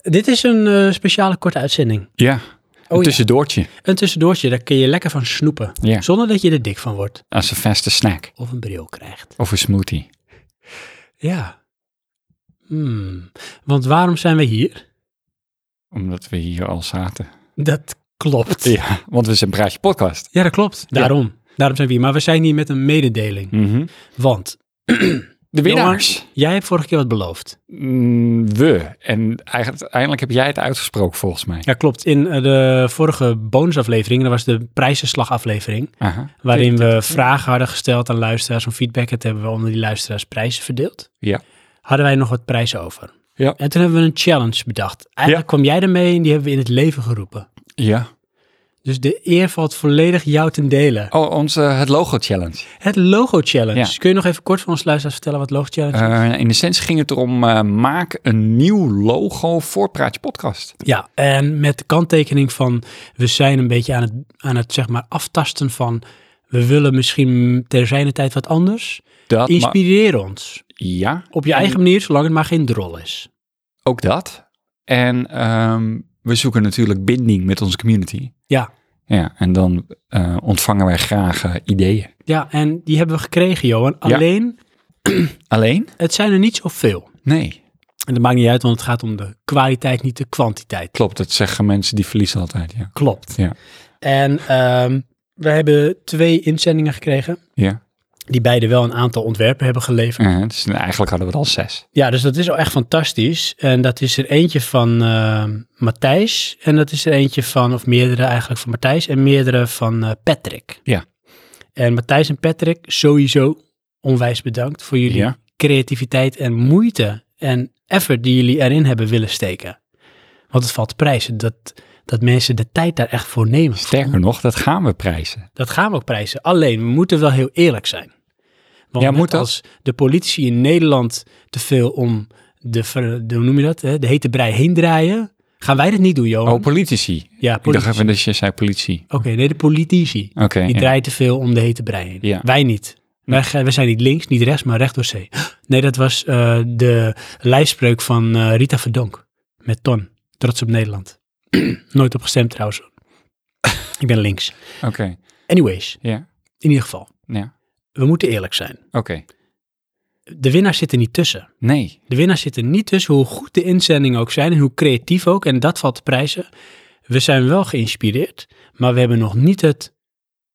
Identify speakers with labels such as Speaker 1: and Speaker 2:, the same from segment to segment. Speaker 1: Dit is een eh, speciale korte uitzending.
Speaker 2: Oh Ja, een
Speaker 1: ja.
Speaker 2: tussendoortje.
Speaker 1: Een tussendoortje, daar kun je lekker van snoepen.
Speaker 2: Ja.
Speaker 1: Zonder dat je er dik van wordt.
Speaker 2: Als een vaste snack.
Speaker 1: Of een bril krijgt.
Speaker 2: Of een smoothie.
Speaker 1: Ja. Hmm. Want waarom zijn we hier?
Speaker 2: Omdat we hier al zaten.
Speaker 1: Dat klopt. Ja,
Speaker 2: Ja, want we zijn Praatje Podcast.
Speaker 1: dat klopt. Daarom. Daarom zijn we hier. Maar we zijn hier met een mededeling.
Speaker 2: Mhm.
Speaker 1: Want
Speaker 2: De winnaars.
Speaker 1: jij hebt vorige keer wat beloofd.
Speaker 2: Mm, we. En eigenlijk- uiteindelijk heb jij het uitgesproken volgens mij.
Speaker 1: Ja, klopt. In eh, de vorige bonusaflevering, dat was de prijzenslagaflevering,
Speaker 2: Aha.
Speaker 1: waarin we vragen hadden gesteld aan luisteraars om feedback. Het hebben we onder die luisteraars prijzen verdeeld.
Speaker 2: Ja.
Speaker 1: Hadden wij nog wat prijzen over.
Speaker 2: Ja.
Speaker 1: En toen hebben we een challenge bedacht. Eigenlijk kwam jij ermee en die hebben we in het leven geroepen.
Speaker 2: Ja.
Speaker 1: Dus de eer valt volledig jou ten dele.
Speaker 2: Oh, onze het logo challenge.
Speaker 1: Het logo challenge.
Speaker 2: Ja.
Speaker 1: Kun je nog even kort voor ons luisteraars vertellen wat logo challenge is?
Speaker 2: Eh, in essentie ging het erom, eh, maak een nieuw logo voor Praatje Podcast.
Speaker 1: Ja, en met de kanttekening van we zijn een beetje aan het, aan het zeg maar aftasten van we willen misschien terzijde tijd wat anders.
Speaker 2: Dat ma-
Speaker 1: Inspireer ons.
Speaker 2: ja,
Speaker 1: Op je
Speaker 2: En-
Speaker 1: eigen manier, zolang het maar geen drol is.
Speaker 2: ook dat. En ehm, we zoeken natuurlijk binding met onze community.
Speaker 1: Ja.
Speaker 2: Ja, en dan eh, ontvangen wij graag eh, ideeën.
Speaker 1: Ja, en die hebben we gekregen, Johan.
Speaker 2: Ja.
Speaker 1: Alleen,
Speaker 2: Alleen?
Speaker 1: het zijn er niet zoveel.
Speaker 2: Nee.
Speaker 1: En dat maakt niet uit, want het gaat om de kwaliteit, niet de kwantiteit.
Speaker 2: Klopt, dat zeggen mensen die verliezen altijd, ja.
Speaker 1: Klopt.
Speaker 2: Ja.
Speaker 1: En ehm, we hebben twee inzendingen gekregen,
Speaker 2: Ja,
Speaker 1: die beide wel een aantal ontwerpen hebben geleverd.
Speaker 2: Eh, het is- eigenlijk hadden we er al zes.
Speaker 1: Ja, dus dat is al echt fantastisch. En dat is er eentje van eh, Matthijs. En dat is er eentje van, of meerdere eigenlijk van Matthijs. En meerdere van eh, Patrick.
Speaker 2: Ja.
Speaker 1: En Matthijs en Patrick, sowieso onwijs bedankt voor jullie
Speaker 2: Ja.
Speaker 1: creativiteit en moeite en effort die jullie erin hebben willen steken. Want het valt te prijzen dat, dat mensen de tijd daar echt voor nemen.
Speaker 2: Sterker nog, dat gaan we prijzen.
Speaker 1: Dat gaan we ook prijzen. Alleen, we moeten wel heel eerlijk zijn. Want
Speaker 2: Ja,
Speaker 1: net
Speaker 2: moet dat?
Speaker 1: als de politici in Nederland te veel om de, ver- de hoe noem je dat, hè, de hete brei heen draaien, gaan wij dat niet doen, Johan.
Speaker 2: Oh, politici.
Speaker 1: ja,
Speaker 2: Ik dacht
Speaker 1: politici.
Speaker 2: even dat je zei politie.
Speaker 1: Oké, nee, de politici.
Speaker 2: Oké,
Speaker 1: Die
Speaker 2: ja.
Speaker 1: draaien te veel om de hete brei heen.
Speaker 2: Ja.
Speaker 1: Wij niet. Wij, ge- wij zijn niet links, niet rechts, maar recht door zee. Nee, dat was eh, de lijfspreuk van eh, Rita Verdonk met Ton. Trots op Nederland. Nooit op gestemd trouwens. Ik ben links.
Speaker 2: oké.
Speaker 1: Anyways,
Speaker 2: Ja,
Speaker 1: in ieder geval.
Speaker 2: ja.
Speaker 1: We moeten eerlijk zijn.
Speaker 2: Oké.
Speaker 1: De winnaars zitten niet tussen.
Speaker 2: Nee,
Speaker 1: De winnaars zitten niet tussen, hoe goed de inzendingen ook zijn en hoe creatief ook. En dat valt te prijzen. We zijn wel geïnspireerd, maar we hebben nog niet het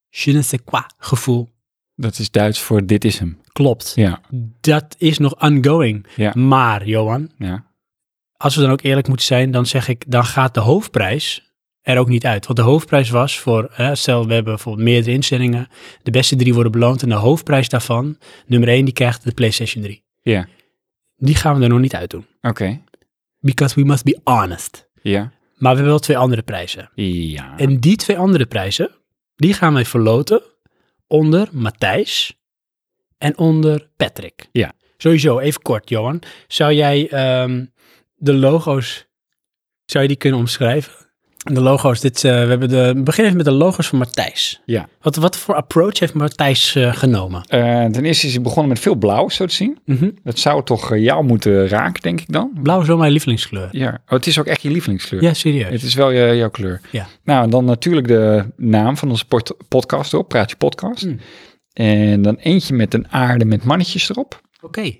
Speaker 1: je ne sais quoi gevoel.
Speaker 2: dat is Duits voor dit is hem.
Speaker 1: Klopt.
Speaker 2: Ja,
Speaker 1: Dat is nog ongoing.
Speaker 2: Ja.
Speaker 1: Maar, Johan,
Speaker 2: ja.
Speaker 1: als we dan ook eerlijk moeten zijn, dan zeg ik, dan gaat de hoofdprijs er ook niet uit. Want de hoofdprijs was voor, hè, stel we hebben bijvoorbeeld meerdere inzendingen, de beste drie worden beloond en de hoofdprijs daarvan, nummer één, die krijgt de PlayStation 3.
Speaker 2: Ja,
Speaker 1: Die gaan we er nog niet uit doen.
Speaker 2: oké.
Speaker 1: Because we must be honest.
Speaker 2: Ja,
Speaker 1: Maar we hebben wel twee andere prijzen.
Speaker 2: ja.
Speaker 1: En die twee andere prijzen, die gaan wij verloten onder Matthijs en onder Patrick.
Speaker 2: Ja.
Speaker 1: Sowieso, even kort, Johan. Zou jij ehm, de logo's, zou je die kunnen omschrijven? De logo's, dit, eh, we hebben de, we beginnen even met de logo's van Matthijs.
Speaker 2: Ja.
Speaker 1: Wat, wat voor approach heeft Matthijs eh, genomen?
Speaker 2: Eh, ten eerste is hij begonnen met veel blauw, zo te zien.
Speaker 1: Mhm.
Speaker 2: Dat zou toch eh, jou moeten raken, denk ik dan?
Speaker 1: Blauw is wel mijn lievelingskleur.
Speaker 2: Ja, oh, het is ook echt je lievelingskleur.
Speaker 1: Ja, serieus.
Speaker 2: Het is wel je, jouw kleur.
Speaker 1: Ja.
Speaker 2: Nou, en dan natuurlijk de naam van onze port- podcast op, Praat je Podcast.
Speaker 1: Mm.
Speaker 2: En dan eentje met een aarde met mannetjes erop.
Speaker 1: Oké.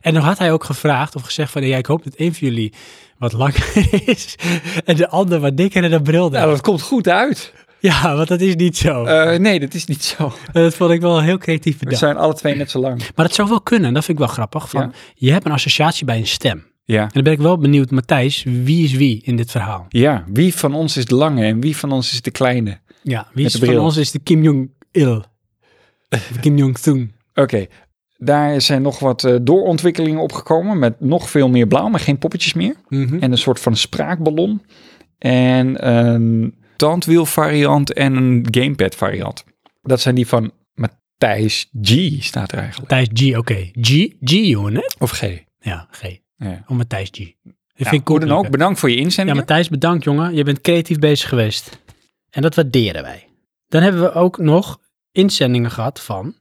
Speaker 1: En dan had hij ook gevraagd of gezegd van, ja, ik hoop dat een van jullie wat langer is en de ander wat dikker en een bril
Speaker 2: Nou,
Speaker 1: draagt.
Speaker 2: dat komt goed uit.
Speaker 1: Ja, want dat is niet zo.
Speaker 2: Eh, nee, dat is niet zo.
Speaker 1: dat vond ik wel heel creatief
Speaker 2: We
Speaker 1: bedacht.
Speaker 2: zijn alle twee net zo lang.
Speaker 1: Maar dat zou wel kunnen, dat vind ik wel grappig. Van,
Speaker 2: Ja.
Speaker 1: Je hebt een associatie bij een stem. En
Speaker 2: Ja.
Speaker 1: dan ben ik wel benieuwd, Matthijs, wie is wie in dit verhaal?
Speaker 2: Ja, wie van ons is de lange en wie van ons is de kleine?
Speaker 1: Ja, wie
Speaker 2: Met
Speaker 1: is
Speaker 2: de
Speaker 1: van
Speaker 2: bril.
Speaker 1: ons is de Kim Jong-il? Of Kim Jong-un?
Speaker 2: Oké, daar zijn nog wat eh, doorontwikkelingen opgekomen met nog veel meer blauw, maar geen poppetjes meer.
Speaker 1: Mhm.
Speaker 2: En een soort van spraakballon. En een tandwiel variant en een gamepad variant. Dat zijn die van Matthijs G staat er eigenlijk.
Speaker 1: Matthijs G, oké. G, G-unit?
Speaker 2: Of G.
Speaker 1: Ja, G.
Speaker 2: Ja.
Speaker 1: Om Matthijs G. Dat
Speaker 2: Nou,
Speaker 1: vind ik
Speaker 2: hoe dan
Speaker 1: cool.
Speaker 2: ook, bedankt voor je
Speaker 1: Ja,
Speaker 2: inzending.
Speaker 1: Matthijs, bedankt jongen. Je bent creatief bezig geweest. En dat waarderen wij. Dan hebben we ook nog inzendingen gehad van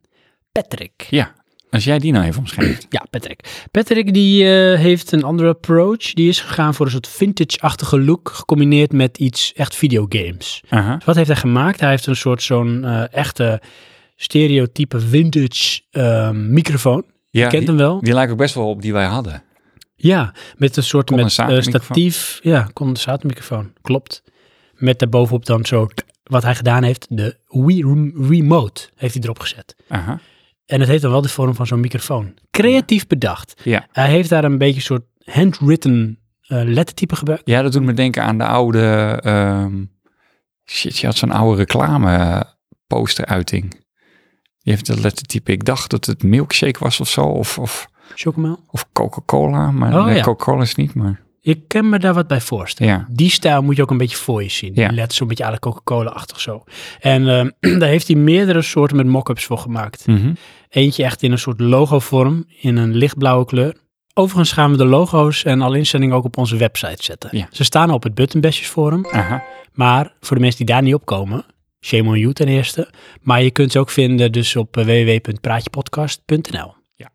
Speaker 1: Patrick.
Speaker 2: Ja. Als jij die nou even omschrijft.
Speaker 1: Ja, Patrick. Patrick die eh, heeft een andere approach. Die is gegaan voor een soort vintage-achtige look, gecombineerd met iets echt videogames.
Speaker 2: Aha.
Speaker 1: Dus wat heeft hij gemaakt? Hij heeft een soort zo'n eh, echte stereotype vintage eh, microfoon.
Speaker 2: Ja,
Speaker 1: Je kent
Speaker 2: die-
Speaker 1: hem wel?
Speaker 2: Die lijkt ook best wel op die wij hadden.
Speaker 1: Ja, met een soort met, eh,
Speaker 2: Condensatormicrofoon.
Speaker 1: statief. Ja, condensatormicrofoon. Klopt. Met daarbovenop dan zo t- wat hij gedaan heeft, de Wii Rem- Remote heeft hij erop gezet.
Speaker 2: Aha.
Speaker 1: En het heeft dan wel de vorm van zo'n microfoon. Creatief bedacht.
Speaker 2: Ja.
Speaker 1: Hij heeft daar een beetje een soort handwritten eh, lettertype gebruikt.
Speaker 2: ja, dat doet me denken aan de oude... ehm, shit, je had zo'n oude reclame posteruiting. Die heeft het lettertype. Ik dacht dat het milkshake was of zo. Of, of,
Speaker 1: Chocomel.
Speaker 2: of Coca-Cola. Maar
Speaker 1: Oh,
Speaker 2: nee,
Speaker 1: ja.
Speaker 2: Coca-Cola is niet, maar...
Speaker 1: Ik kan me daar wat bij voorstellen.
Speaker 2: Ja.
Speaker 1: Die stijl moet je ook een beetje voor je zien.
Speaker 2: Ja.
Speaker 1: Let zo'n beetje à la Coca-Cola-achtig zo. En ehm, daar heeft hij meerdere soorten met mock-ups voor gemaakt.
Speaker 2: Mhm.
Speaker 1: Eentje echt in een soort logovorm, in een lichtblauwe kleur. Overigens gaan we de logo's en alle instellingen ook op onze website zetten.
Speaker 2: Ja.
Speaker 1: Ze staan al op het Buttonbashers forum,
Speaker 2: Aha.
Speaker 1: maar voor de mensen die daar niet op komen, shame on you ten eerste. Maar je kunt ze ook vinden dus op eh, www.praatjepodcast.nl.
Speaker 2: Ja.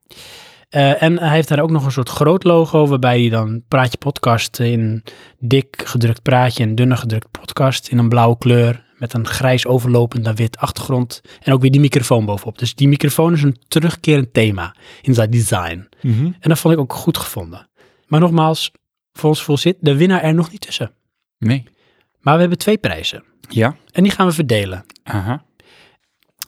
Speaker 1: Eh, en hij heeft daar ook nog een soort groot logo, waarbij hij dan Praatje Podcast in dik gedrukt praatje en dunner gedrukt podcast in een blauwe kleur. Met een grijs overlopend naar wit achtergrond. En ook weer die microfoon bovenop. Dus die microfoon is een terugkerend thema in zijn design.
Speaker 2: Mhm.
Speaker 1: En dat vond ik ook goed gevonden. Maar nogmaals, voor ons voor zit de winnaar er nog niet tussen.
Speaker 2: Nee.
Speaker 1: Maar we hebben twee prijzen.
Speaker 2: Ja.
Speaker 1: En die gaan we verdelen.
Speaker 2: Aha.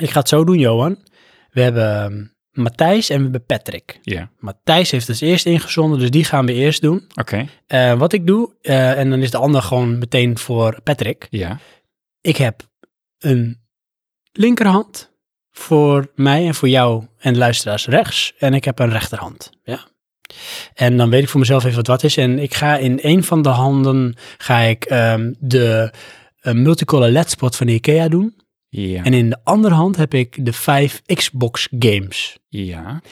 Speaker 1: Ik ga het zo doen, Johan. We hebben ehm, Matthijs en we hebben Patrick.
Speaker 2: Ja.
Speaker 1: Matthijs heeft het eerst ingezonden, dus die gaan we eerst doen.
Speaker 2: Oké.
Speaker 1: Eh, wat ik doe, eh, en dan is de ander gewoon meteen voor Patrick.
Speaker 2: Ja.
Speaker 1: Ik heb een linkerhand voor mij en voor jou en de luisteraars rechts. En ik heb een rechterhand. Ja. En dan weet ik voor mezelf even wat wat is. En ik ga in een van de handen ga ik ehm, de eh, multicolor LED spot van IKEA doen.
Speaker 2: Ja.
Speaker 1: En in de andere hand heb ik de vijf Xbox games.
Speaker 2: Ja.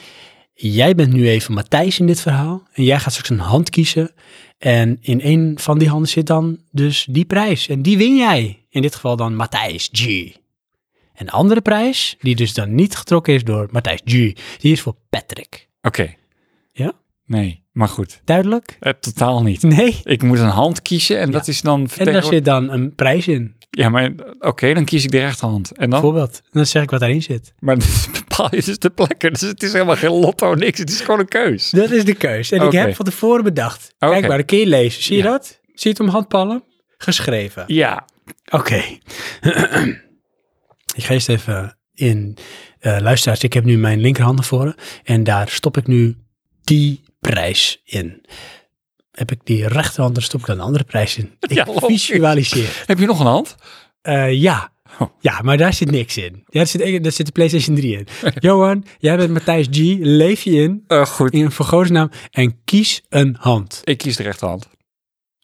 Speaker 1: Jij bent nu even Matthijs in dit verhaal. En jij gaat straks een hand kiezen. En in een van die handen zit dan dus die prijs. En die win jij. In dit geval dan Matthijs G. En de andere prijs, die dus dan niet getrokken is door Matthijs G. Die is voor Patrick.
Speaker 2: Oké.
Speaker 1: Ja?
Speaker 2: Nee, maar goed.
Speaker 1: Duidelijk?
Speaker 2: Eh, totaal niet.
Speaker 1: Nee.
Speaker 2: Ik moet een hand kiezen en dat is dan
Speaker 1: En daar
Speaker 2: vertegenwoordigd.
Speaker 1: zit dan een prijs in.
Speaker 2: Ja, maar eh, oké, dan kies ik de rechterhand. En dan?
Speaker 1: Bijvoorbeeld. En dan zeg ik wat daarin zit.
Speaker 2: Maar dat bepaal je dus de plekken. Dus het is helemaal geen lotto, niks. Het is gewoon een keus.
Speaker 1: Dat is de keus. En
Speaker 2: Oké.
Speaker 1: ik heb van tevoren bedacht.
Speaker 2: Oké.
Speaker 1: Kijk maar, een keer lezen. Zie je
Speaker 2: Ja.
Speaker 1: dat? Zie je het om handpalm? Geschreven.
Speaker 2: Ja.
Speaker 1: Oké. ik ga eerst even in. eh luisteraars, ik heb nu mijn linkerhand naar voren. En daar stop ik nu die prijs in. Heb ik die rechterhand, dan stop ik dan een andere prijs in. Ik
Speaker 2: Ja, logisch.
Speaker 1: visualiseer.
Speaker 2: Heb je nog een hand?
Speaker 1: Eh, ja.
Speaker 2: Oh.
Speaker 1: ja, maar daar zit niks in. Daar zit, daar zit de PlayStation 3 in. Johan, jij bent Matthijs G. Leef je in,
Speaker 2: Eh, goed.
Speaker 1: in een vergoosnaam. En kies een hand.
Speaker 2: Ik kies de rechterhand.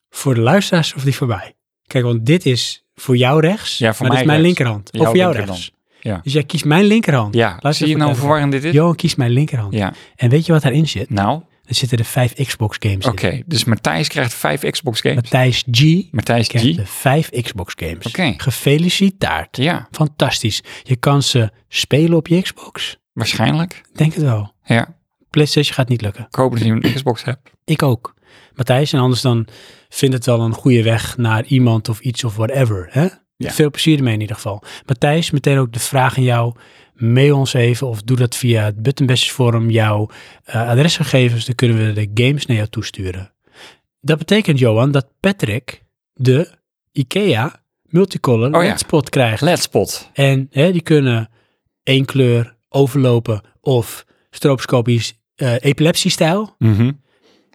Speaker 1: Voor de luisteraars of die voor mij? Kijk, want dit is voor jou rechts.
Speaker 2: Ja, voor
Speaker 1: maar
Speaker 2: mij
Speaker 1: dit is mijn
Speaker 2: rechts.
Speaker 1: linkerhand.
Speaker 2: Jouw
Speaker 1: of voor jou
Speaker 2: linkerhand.
Speaker 1: rechts.
Speaker 2: Ja.
Speaker 1: Dus jij kiest mijn linkerhand.
Speaker 2: Ja.
Speaker 1: Luister
Speaker 2: Zie je
Speaker 1: even
Speaker 2: nou hoe
Speaker 1: goed
Speaker 2: verwarrend dit is?
Speaker 1: Johan kiest mijn linkerhand.
Speaker 2: Ja.
Speaker 1: En weet je wat daarin zit?
Speaker 2: Nou,
Speaker 1: Er zitten de vijf Xbox games
Speaker 2: oké.
Speaker 1: in.
Speaker 2: Dus Matthijs krijgt vijf Xbox games.
Speaker 1: Matthijs G.
Speaker 2: Matthijs G.
Speaker 1: krijgt de vijf Xbox games.
Speaker 2: Oké.
Speaker 1: Gefeliciteerd.
Speaker 2: Ja,
Speaker 1: Fantastisch. Je kan ze spelen op je Xbox.
Speaker 2: waarschijnlijk.
Speaker 1: Ik Denk het wel.
Speaker 2: Ja.
Speaker 1: PlayStation gaat niet lukken.
Speaker 2: Ik hoop dat je een Xbox hebt.
Speaker 1: Ik ook. Matthijs, en anders dan vindt het wel een goede weg naar iemand of iets of whatever. Hè?
Speaker 2: Ja.
Speaker 1: Veel plezier ermee in ieder geval. Matthijs, meteen ook de vraag aan jou. Mail ons even of doe dat via het Buttonbashers Forum. Jouw eh, adresgegevens, dan kunnen we de games naar jou toesturen. Dat betekent, Johan, dat Patrick de IKEA multicolor
Speaker 2: Oh ja.
Speaker 1: hotspot krijgt.
Speaker 2: Let's spot.
Speaker 1: En hè, die kunnen één kleur overlopen of stroobscopisch eh, epilepsiestijl.
Speaker 2: Mhm.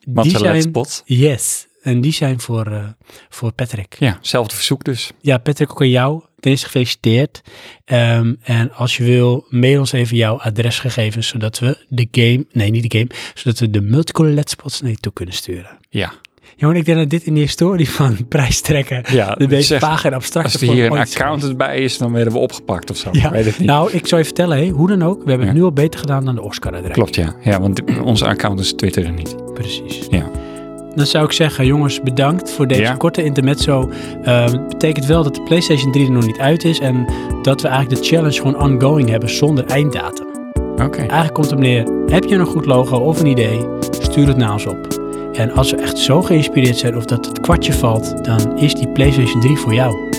Speaker 2: Want
Speaker 1: die
Speaker 2: ze
Speaker 1: zijn
Speaker 2: let's spot.
Speaker 1: Yes. En die zijn voor, eh, voor Patrick.
Speaker 2: Ja, zelfde verzoek dus.
Speaker 1: Ja, Patrick, ook aan jou. Ten eerste gefeliciteerd. Ehm, en als je wil, mail ons even jouw adresgegevens, zodat we de game, nee, niet de game, zodat we de multicolor LEDspots naar je toe kunnen sturen.
Speaker 2: Ja.
Speaker 1: Jongen, ik denk dat dit in de historie van prijstrekken
Speaker 2: Ja,
Speaker 1: de meest
Speaker 2: zeg,
Speaker 1: vage en abstracte
Speaker 2: Als er
Speaker 1: vorm
Speaker 2: hier een
Speaker 1: ooit is.
Speaker 2: accountant bij is, dan werden we opgepakt of zo.
Speaker 1: Ja,
Speaker 2: Ik weet het niet.
Speaker 1: Nou, ik zou je vertellen, hé, hoe dan ook, we hebben het
Speaker 2: Ja.
Speaker 1: nu al beter gedaan dan de Oscar-adres.
Speaker 2: Klopt, ja. Ja, want dit- onze accountants twitteren niet.
Speaker 1: Precies.
Speaker 2: Ja.
Speaker 1: Dan zou ik zeggen, jongens, bedankt voor deze
Speaker 2: Ja.
Speaker 1: korte intermezzo. Eh, Het betekent wel dat de PlayStation 3 er nog niet uit is en dat we eigenlijk de challenge gewoon ongoing hebben zonder einddatum.
Speaker 2: Oké.
Speaker 1: Eigenlijk komt het neer, heb je een goed logo of een idee, stuur het naar ons op. En als we echt zo geïnspireerd zijn of dat het kwartje valt, dan is die PlayStation 3 voor jou.